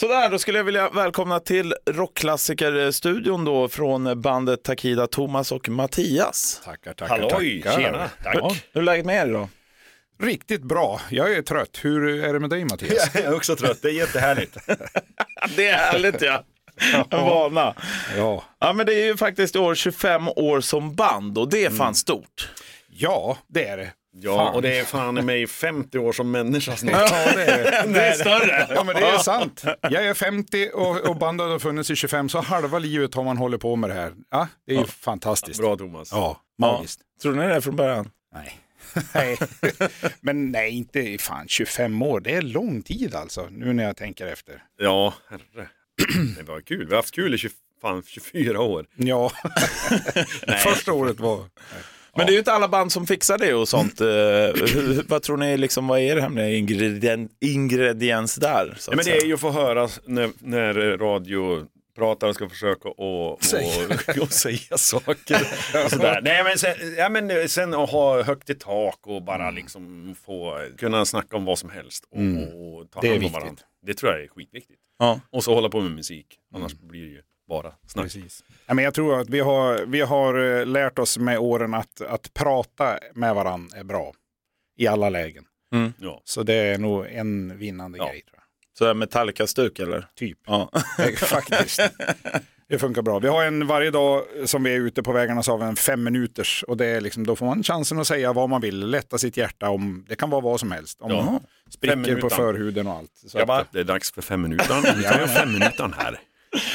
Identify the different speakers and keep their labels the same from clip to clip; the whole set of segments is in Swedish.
Speaker 1: Sådär, då skulle jag vilja välkomna till rockklassikerstudion då från bandet Takida, Thomas och Mattias.
Speaker 2: Tackar, tackar,
Speaker 3: Halloj,
Speaker 2: tackar.
Speaker 3: tjena. Tack.
Speaker 1: Ja, Hur är läget med er idag?
Speaker 2: Riktigt bra. Jag är trött. Hur är det med dig Mattias?
Speaker 3: Jag är också trött, det är jättehärligt.
Speaker 1: Det är härligt ja. En vana.
Speaker 2: ja.
Speaker 1: Ja men det är ju faktiskt i år 25 år som band och det är fan stort.
Speaker 2: ja, det är det.
Speaker 3: Ja,
Speaker 2: Fan.
Speaker 3: och det är fan i mig 50 år som människa snart.
Speaker 2: Ja, det är det.
Speaker 1: Det är större.
Speaker 2: Ja, men det är sant. Jag är 50 och, och bandet har funnits i 25, så halva livet har man hållit på med det här. Ja, det är ju fantastiskt.
Speaker 3: Bra Thomas.
Speaker 2: Ja, magiskt.
Speaker 1: Tror ni det är från början?
Speaker 2: Nej. Nej. men nej, inte i fan 25 år. Det är lång tid alltså, nu när jag tänker efter.
Speaker 3: Ja, herre. Det var kul, vi har haft kul i 20, fan, 24 år.
Speaker 2: Ja, första året var...
Speaker 1: Men det är ju inte alla band som fixar det och sånt. Eh, hur- vad tror ni, liksom, vad är det hemliga ingredien, ingrediens där? Så att
Speaker 3: Ja, men det
Speaker 1: säga?
Speaker 3: är ju att få höra när, när radioprataren ska försöka och, och, och säga saker. Och sådär. Nej, men sen, ja, men sen att ha högt i tak och bara liksom få kunna snacka om vad som helst och, och ta
Speaker 2: Det är
Speaker 3: hand om
Speaker 2: viktigt.
Speaker 3: varandra. Mm. Det tror jag är skitviktigt.
Speaker 1: Ja.
Speaker 3: Och så hålla på med musik, annars blir det ju bara snack.
Speaker 2: Precis. Ja, men jag tror att vi har, vi har eh, lärt oss med åren att, att prata med varandra är bra i alla lägen.
Speaker 3: Ja.
Speaker 2: Så det är nog en vinnande
Speaker 3: Ja.
Speaker 2: grej. Tror jag.
Speaker 1: Så är det Metallica-stuk eller?
Speaker 2: Typ,
Speaker 1: Ja.
Speaker 2: Eh, faktiskt. Det funkar bra. Vi har en varje dag som vi är ute på vägarna så har vi en fem minuters och det är liksom, då får man chansen att säga vad man vill, lätta sitt hjärta om, det kan vara vad som helst. Om
Speaker 3: Ja.
Speaker 2: man
Speaker 3: Fem
Speaker 2: spricker
Speaker 3: minuter.
Speaker 2: på förhuden och allt. Så att,
Speaker 3: Grabbar, det är dags för fem minuter. Nu tar jag fem minuter här.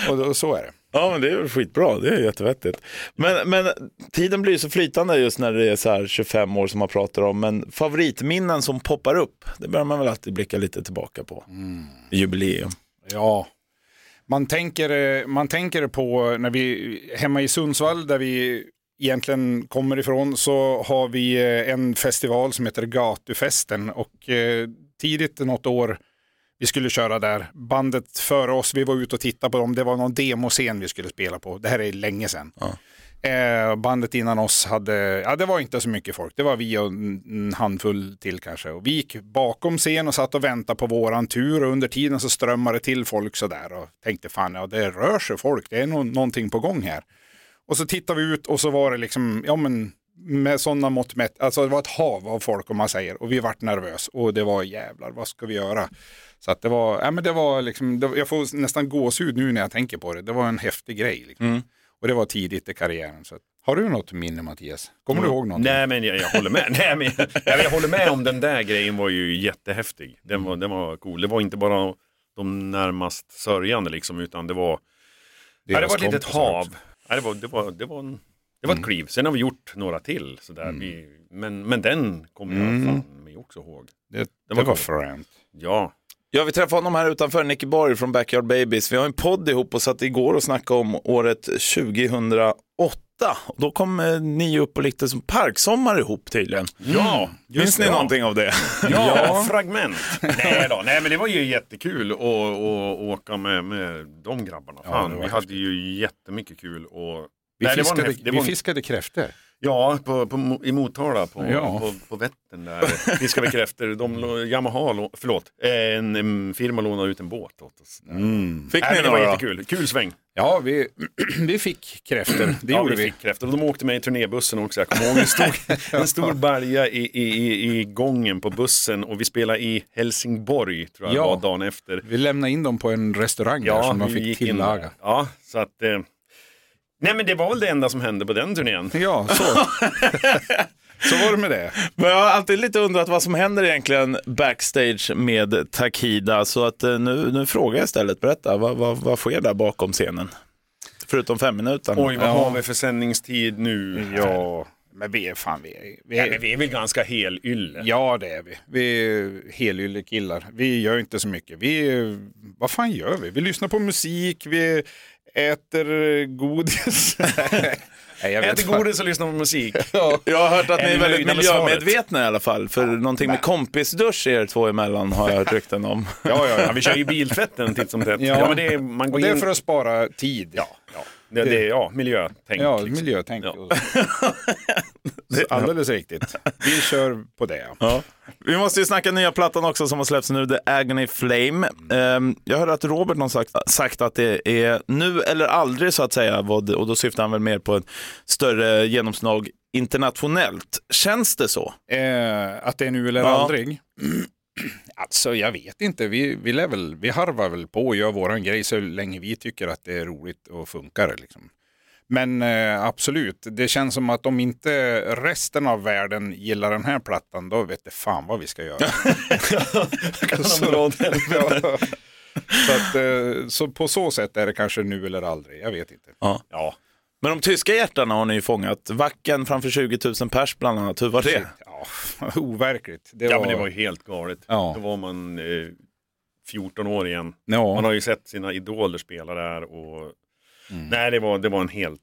Speaker 2: och, och så är det.
Speaker 1: Ja, men det är väl skitbra. Det är jättevettigt. Men, men tiden blir ju så flytande just när det är så här 25 år som man pratar om. Men favoritminnen som poppar upp, det bör man väl alltid blicka lite tillbaka på.
Speaker 3: Mm.
Speaker 1: Jubileum.
Speaker 2: Ja. Man tänker, eh, man tänker på när vi, hemma i Sundsvall där vi egentligen kommer ifrån så har vi eh, en festival som heter Gatufesten och eh, tidigt något år vi skulle köra där. Bandet före oss, vi var ute och tittade på dem, det var någon demoscen vi skulle spela på. Det här är länge sedan. Eh, bandet innan oss hade, ja det var inte så mycket folk, det var vi och en en handfull till kanske. Och vi gick bakom scen och satt och väntade på våran tur och under tiden så strömmade det till folk sådär och tänkte fan ja det rör sig folk, det är nog någonting på gång här. Och så tittade vi ut och så var det liksom, ja men med sådana mått mätt, alltså det var ett hav av folk om man säger och vi vart nervös och det var jävlar vad ska vi göra? Så att det var, ja men det var liksom, det, jag får nästan gåshud nu när jag tänker på det, det var en häftig grej. Liksom.
Speaker 3: Mm.
Speaker 2: Och det var tidigt i karriären. Så att, har du något minne Mattias? Kommer du ihåg någonting?
Speaker 3: Mm. Nej men jag, jag håller med. Nej, men, jag, jag håller med om den där grejen var ju jättehäftig. Den var, den var cool. Det var inte bara de närmast sörjande liksom utan det var, ja, det
Speaker 2: Deras
Speaker 3: var ett litet
Speaker 2: kompisar
Speaker 3: hav.
Speaker 2: också. Mm.
Speaker 3: Ja, det var, det var, det var, en, det var ett kliv. Sen har vi gjort några till sådär. Vi, men, men den kommer
Speaker 2: Mm.
Speaker 3: jag fan mig också ihåg.
Speaker 2: Det, det,
Speaker 3: var
Speaker 2: var,
Speaker 3: coolt.
Speaker 2: fränt.
Speaker 3: Ja,
Speaker 1: Ja, vi träffade honom här utanför, Nicky Borg från Backyard Babies. Vi har en podd ihop och satt igår och snackade om året 2008. Och då kom eh, ni upp och lite som parksommar ihop tydligen.
Speaker 2: Mm.
Speaker 3: ja
Speaker 1: Minns ni
Speaker 3: det. Mm.
Speaker 1: någonting av det?
Speaker 3: Ja, fragment. Nej då, nej men det var ju jättekul att, att åka med, med de grabbarna. Fan,
Speaker 2: det var
Speaker 3: vi hade ju jättemycket kul och
Speaker 2: Vi,
Speaker 3: Nej, det var en
Speaker 2: fiskade,
Speaker 3: häftig- det
Speaker 2: vi
Speaker 3: var en-
Speaker 2: fiskade kräftor.
Speaker 3: Ja, på, på, Mo- i Motala på,
Speaker 2: Ja.
Speaker 3: på, på Vättern där. Vi ska bekräfta, de, lå- Yamaha, lå- förlåt, en, en firma lånade ut en båt åt oss.
Speaker 2: Mm.
Speaker 1: Fick
Speaker 3: Nej,
Speaker 1: ni
Speaker 3: men det var
Speaker 1: några?
Speaker 3: jättekul, kul sväng.
Speaker 2: Ja, vi, vi fick kräftor. Det
Speaker 3: ja,
Speaker 2: gjorde
Speaker 3: vi
Speaker 2: vi.
Speaker 3: fick kräftor. De åkte med i turnébussen också, jag kommer ihåg. Det stod en stor balja i, i, i, i gången på bussen och vi spelade i Helsingborg, tror jag
Speaker 2: Ja.
Speaker 3: det var, dagen efter.
Speaker 2: Vi lämnade in dem på en restaurang där som de
Speaker 3: vi
Speaker 2: fick
Speaker 3: gick in
Speaker 2: tillaga.
Speaker 3: där. Ja, så att... Eh, nej, men det var väl det enda som hände på den turnén.
Speaker 2: Ja, så. så var det med det.
Speaker 1: Men jag har alltid lite undrat vad som händer egentligen backstage med Takida. Så att eh, nu, nu frågar jag istället, berätta, vad, vad, vad sker där bakom scenen? Förutom fem minuter.
Speaker 3: Oj, vad har vi för sändningstid nu?
Speaker 2: Ja, men vi är fan, vi är, vi
Speaker 3: Ja, men
Speaker 2: är,
Speaker 3: vi är väl ganska helylle.
Speaker 2: ja det är vi. Vi är helyllekillar. Vi gör inte så mycket. Vi, är- vad fan gör vi? Vi lyssnar på musik, vi äter godis. Nej, jag vet
Speaker 3: Äter
Speaker 2: fan.
Speaker 3: godis och lyssnar på musik.
Speaker 1: Jag har hört att ni
Speaker 3: Är
Speaker 1: är
Speaker 3: ni
Speaker 1: väldigt
Speaker 3: nöjda med svaret?
Speaker 1: miljömedvetna i alla fall. För någonting med kompisdusch er två emellan har jag hört rykten om.
Speaker 3: Ja, ja, ja, vi kör ju biltvätten titt som tätt.
Speaker 2: Ja.
Speaker 3: Ja. men det är, man
Speaker 2: Och
Speaker 3: går
Speaker 2: det är
Speaker 3: in...
Speaker 2: för att spara tid.
Speaker 3: Ja, ja. Det, det, är- ja miljötänk.
Speaker 2: Ja,
Speaker 3: liksom.
Speaker 2: miljötänk.
Speaker 3: Ja.
Speaker 2: och så. Så Alldeles riktigt. Vi kör på det.
Speaker 1: Ja. Vi måste ju snacka nya plattan också som har släppts nu, The Agony Flame. Ehm, jag hörde att Robert någon sagt, sagt att det är nu eller aldrig så att säga, vad, och då syftar han väl mer på ett större genomslag internationellt. Känns det så?
Speaker 2: Eh, att det är nu eller
Speaker 1: Ja.
Speaker 2: aldrig. Alltså jag vet inte, vi, vi, lär väl, vi harvar väl på och gör våran grej så länge vi tycker att det är roligt och funkar. Liksom. Men eh, absolut, det känns som att om inte resten av världen gillar den här plattan, då vet det fan vad vi ska göra.
Speaker 3: de dra den?
Speaker 2: ja. så, att, eh, så på så sätt är det kanske nu eller aldrig, jag vet inte.
Speaker 1: Ja.
Speaker 3: Ja.
Speaker 1: Men de tyska hjärtarna har ni ju fångat. Vacken framför 20 000 pers bland annat. Hur var det?
Speaker 2: Ja, overkligt. Det
Speaker 3: ja, men det var ju helt galet.
Speaker 2: Ja.
Speaker 3: Då var man eh, 14 år igen.
Speaker 2: Ja.
Speaker 3: Man har ju sett sina idoler spela där och
Speaker 2: Mm.
Speaker 3: nej, det var, det var en helt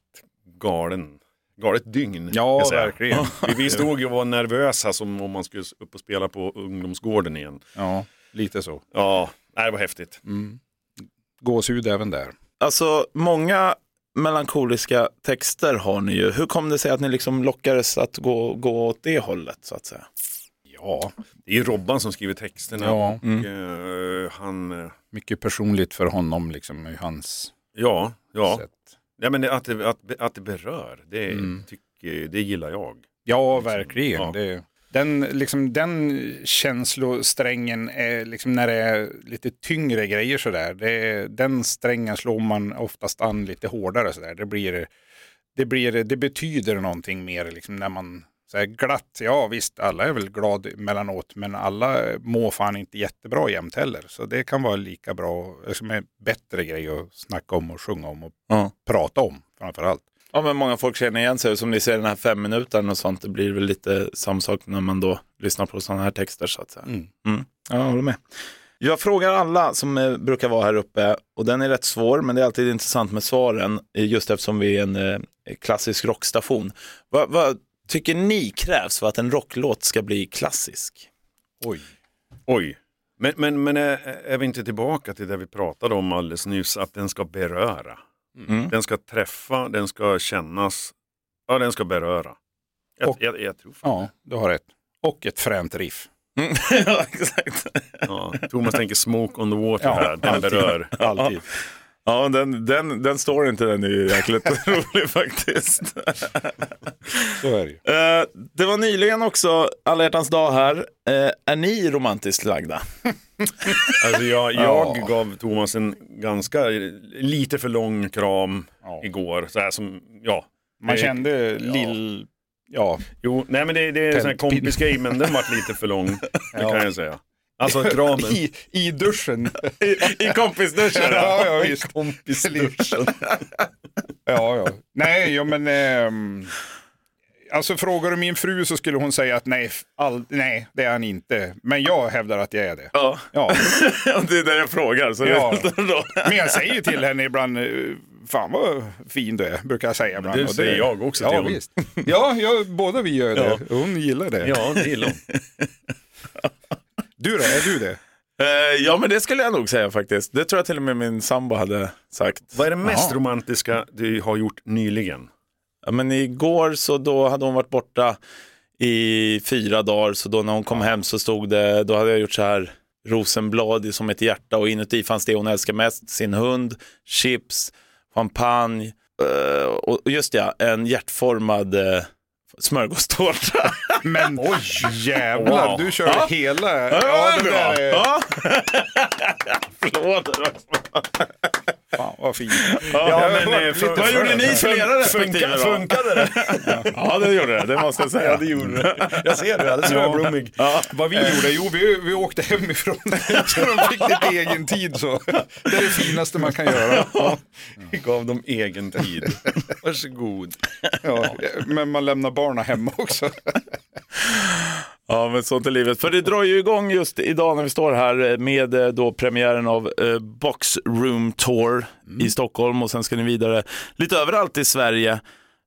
Speaker 3: galen, galet dygn. kan
Speaker 2: Ja,
Speaker 3: jag säga.
Speaker 2: verkligen.
Speaker 3: Vi, vi stod ju och var nervösa som om man skulle upp och spela på ungdomsgården igen.
Speaker 2: Ja, lite så. Mm.
Speaker 3: Ja, nej, det var häftigt.
Speaker 2: Gåshud även där.
Speaker 1: Alltså många melankoliska texter har ni ju. Hur kom det sig att ni liksom lockades att gå, gå åt det hållet så att säga?
Speaker 2: Ja,
Speaker 3: Det är ju Robban som skriver texterna.
Speaker 2: Ja. mm.
Speaker 3: Och, eh, han, eh,
Speaker 2: mycket personligt för honom, liksom i hans
Speaker 3: ja, ja.
Speaker 2: sätt. Mm.
Speaker 3: ja men det- att, det, att, att det berör, det, tycker, det gillar jag.
Speaker 2: Ja, verkligen.
Speaker 3: Ja.
Speaker 2: Det, den, liksom, den känslosträngen, är, liksom, när det är lite tyngre grejer sådär, det, den strängen slår man oftast an lite hårdare sådär. Det, blir, det, blir, det betyder någonting mer liksom, när man så här glatt, ja visst, alla är väl glad mellanåt, men alla mår fan inte jättebra jämt heller. Så det kan vara lika bra, liksom en bättre grej att snacka om och sjunga om och
Speaker 1: Ja.
Speaker 2: prata om framför allt.
Speaker 1: Ja men många folk känner igen sig. Som ni ser den här fem minuter och sånt. Det blir väl lite samma sak när man då lyssnar på sådana här texter så att säga.
Speaker 2: Mm.
Speaker 1: Mm. Ja, jag håller med. Jag frågar alla som eh, brukar vara här uppe och den är rätt svår men det är alltid intressant med svaren eh, just eftersom vi är en eh, klassisk rockstation. Vad, vad tycker ni krävs för att en rocklåt ska bli klassisk?
Speaker 2: Oj.
Speaker 3: Oj. Men, men, men är, är vi inte tillbaka till det vi pratade om alldeles nyss, att den ska beröra?
Speaker 1: Mm.
Speaker 3: Den ska träffa, den ska kännas, ja den ska beröra. Jag,
Speaker 2: Och-
Speaker 3: jag, jag tror fan.
Speaker 2: Ja, du har rätt. Och ett fränt riff.
Speaker 1: Mm. ja, exakt.
Speaker 3: Ja. Thomas tänker smoke on the water
Speaker 2: Ja,
Speaker 3: här, den
Speaker 2: alltid.
Speaker 3: berör.
Speaker 2: Alltid.
Speaker 1: Ja, den, den, den står inte, den är ju jäkligt rolig faktiskt.
Speaker 2: Så är det ju.
Speaker 1: Eh, det var nyligen också alla hjärtans dag här. Eh, är ni romantiskt lagda?
Speaker 3: Alltså jag, jag
Speaker 2: Ja.
Speaker 3: gav Thomas en ganska, eh, lite för lång kram
Speaker 2: Ja.
Speaker 3: igår. Så här som, ja.
Speaker 2: Man
Speaker 3: Eh,
Speaker 2: kände lill... Ja,
Speaker 3: Jo, nej men det, det är en sån här
Speaker 2: Tändpin.
Speaker 3: kompisgrej, men den vart lite för lång. Det
Speaker 2: Ja.
Speaker 3: kan jag säga. Alltså kramen.
Speaker 2: I, i duschen.
Speaker 1: I, i kompisduschen?
Speaker 2: ja, ja, visst.
Speaker 3: Kompisduschen.
Speaker 2: Ja, ja. Nej, ja, men... ehm, alltså frågar du min fru så skulle hon säga att nej, f- all, nej, det är han inte. Men jag hävdar att jag är det.
Speaker 1: Ja.
Speaker 2: Ja.
Speaker 1: Ja, det är det jag frågar. Så
Speaker 2: Ja.
Speaker 1: det är då.
Speaker 2: Men jag säger till henne ibland, eh, fan vad fin du är, brukar jag säga ibland.
Speaker 3: Det
Speaker 2: Och
Speaker 3: säger jag också
Speaker 2: ja,
Speaker 3: till hon.
Speaker 2: visst. Ja, jag, båda vi gör det. Hon gillar det.
Speaker 3: Ja, det gillar hon.
Speaker 2: Du då, är du det?
Speaker 1: Eh, ja, men det skulle jag nog säga faktiskt. Det tror jag till och med min sambo hade sagt.
Speaker 3: Vad är det mest
Speaker 2: Jaha.
Speaker 3: romantiska du har gjort nyligen?
Speaker 1: Ja, men igår så då hade hon varit borta i fyra dagar, så då när hon kom hem så stod det, då hade jag gjort så här rosenblad i- som ett hjärta och inuti fanns det hon älskar mest, sin hund, chips, champagne eh, och och just ja, en hjärtformad eh, smörgåstårta.
Speaker 2: Men oj, jävlar,
Speaker 3: Wow.
Speaker 2: du kör
Speaker 1: Ja.
Speaker 2: hela...
Speaker 1: Ja,
Speaker 2: den
Speaker 1: det
Speaker 2: där
Speaker 1: var bra.
Speaker 2: är-
Speaker 1: Ja. Applåder.
Speaker 2: Fan vad fint.
Speaker 3: Ja,
Speaker 2: men, eh, för-
Speaker 1: Vad gjorde ni
Speaker 2: Fun-
Speaker 1: för era respektive? då?
Speaker 3: Funkade det?
Speaker 1: Ja, det gjorde det, det måste jag säga.
Speaker 3: gjorde det. Jag ser det, alldeles rödblommig.
Speaker 1: Ja.
Speaker 2: Vad vi gjorde? Jo, vi, vi åkte hemifrån så de fick lite egen tid. Så. Det är det finaste man kan göra.
Speaker 3: Vi gav dem egen tid. Varsågod.
Speaker 2: Ja. Men man lämnar barnen hemma också.
Speaker 1: Ja, men sånt är livet. För det drar ju igång just idag när vi står här med eh, då premiären av eh, Box Room Tour i Stockholm och sen ska ni vidare lite överallt i Sverige.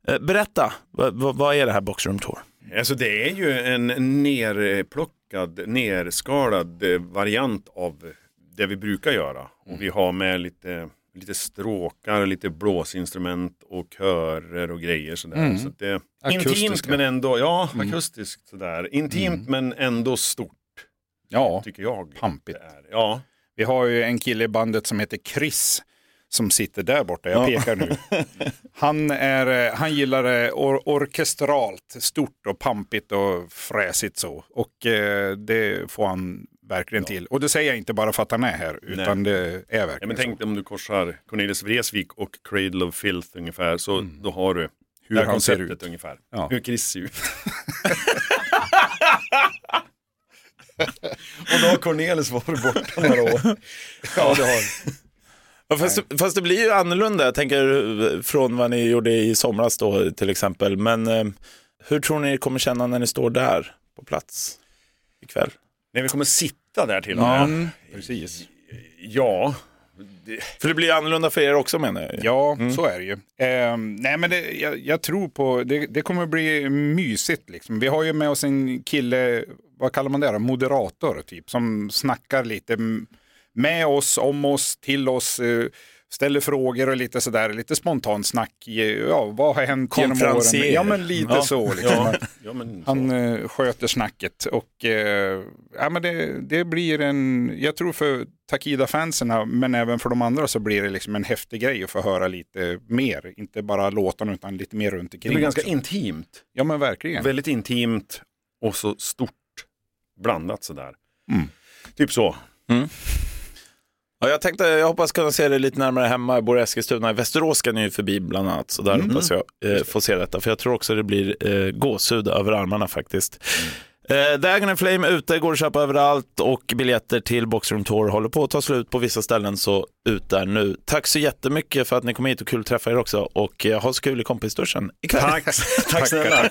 Speaker 1: Eh, Berätta, vad, vad, vad är det här Box Room Tour?
Speaker 3: Alltså det är ju en nerplockad,
Speaker 2: Mm.
Speaker 3: nerskalad eh, variant av det vi brukar göra. Och vi har med lite lite stråkar, lite blåsinstrument och körer och grejer sådär.
Speaker 2: Mm.
Speaker 3: Så att det,
Speaker 2: Akustiska.
Speaker 3: intimt men ändå, ja
Speaker 2: Mm.
Speaker 3: akustiskt sådär. Intimt
Speaker 2: Mm.
Speaker 3: men ändå stort
Speaker 2: Ja,
Speaker 3: tycker jag.
Speaker 2: pampigt.
Speaker 3: Det är. Ja,
Speaker 2: Vi har ju en kille i bandet som heter Chris som sitter där borta, jag
Speaker 1: Ja.
Speaker 2: pekar nu. Han, är, eh, han gillar det or- orkestralt, stort och pampigt och fräsigt så. Och eh, det får han verkligen till. Och det säger jag inte bara för att han är här, utan det är
Speaker 3: Ja,
Speaker 2: verkligen
Speaker 3: men tänk dig om du korsar Cornelis Vreeswijk och Cradle of Filth ungefär, så då har du
Speaker 2: hur
Speaker 3: det här
Speaker 2: han ser
Speaker 3: konceptet
Speaker 2: ut.
Speaker 3: ungefär.
Speaker 2: Ja.
Speaker 3: Hur Chris ser ut. och då har Cornelis varit borta några år. Ja, det har
Speaker 1: Ja, fast, fast det blir ju annorlunda, jag tänker eh, från vad ni gjorde i somras då till exempel. Men eh, hur tror ni det kommer känna när ni står där på plats ikväll?
Speaker 3: Nej, vi kommer sitta där till och
Speaker 1: Ja,
Speaker 2: Mm.
Speaker 3: med.
Speaker 2: Precis.
Speaker 3: Ja,
Speaker 1: För det blir ju annorlunda för er också menar jag. ju.
Speaker 2: Ja, så är det ju. Ehm, nej, men det, jag, jag tror på, det, det kommer bli mysigt liksom. Vi har ju med oss en kille, vad kallar man det då, moderator typ, som snackar lite m- med oss, om oss, till oss, eh, ställer frågor och lite sådär, lite spontant snack. i- Ja, vad har hänt genom
Speaker 1: Konferenser.
Speaker 2: åren? Ja, men lite
Speaker 1: Ja.
Speaker 2: så. Liksom.
Speaker 3: ja, ja men
Speaker 2: Han eh, sköter snacket och eh, ja, men det, det blir en, jag tror för Takida-fansen men även för de andra så blir det liksom en häftig grej att få höra lite mer. Inte bara låtarna utan lite mer runt
Speaker 3: det
Speaker 2: omkring.
Speaker 3: blir ganska
Speaker 2: också.
Speaker 3: intimt.
Speaker 2: Ja men verkligen.
Speaker 3: Väldigt intimt och så stort blandat sådär.
Speaker 2: Mm.
Speaker 3: Typ så.
Speaker 1: Ja, jag, tänkte, jag hoppas kunna se det lite närmare hemma. Jag bor i Eskilstuna. I Västerås ska ni ju förbi bland annat. Så där hoppas jag eh, får se detta. För jag tror också det blir eh, gåshud över armarna faktiskt. Eh, Dagen and Flame ute, går att köpa överallt och biljetter till Boxroom Tour håller på att ta slut på vissa ställen så ut där nu. Tack så jättemycket för att ni kom hit och kul att träffa er också och eh, ha så kul i kompisduschen ikväll.
Speaker 3: Tack, tack snälla.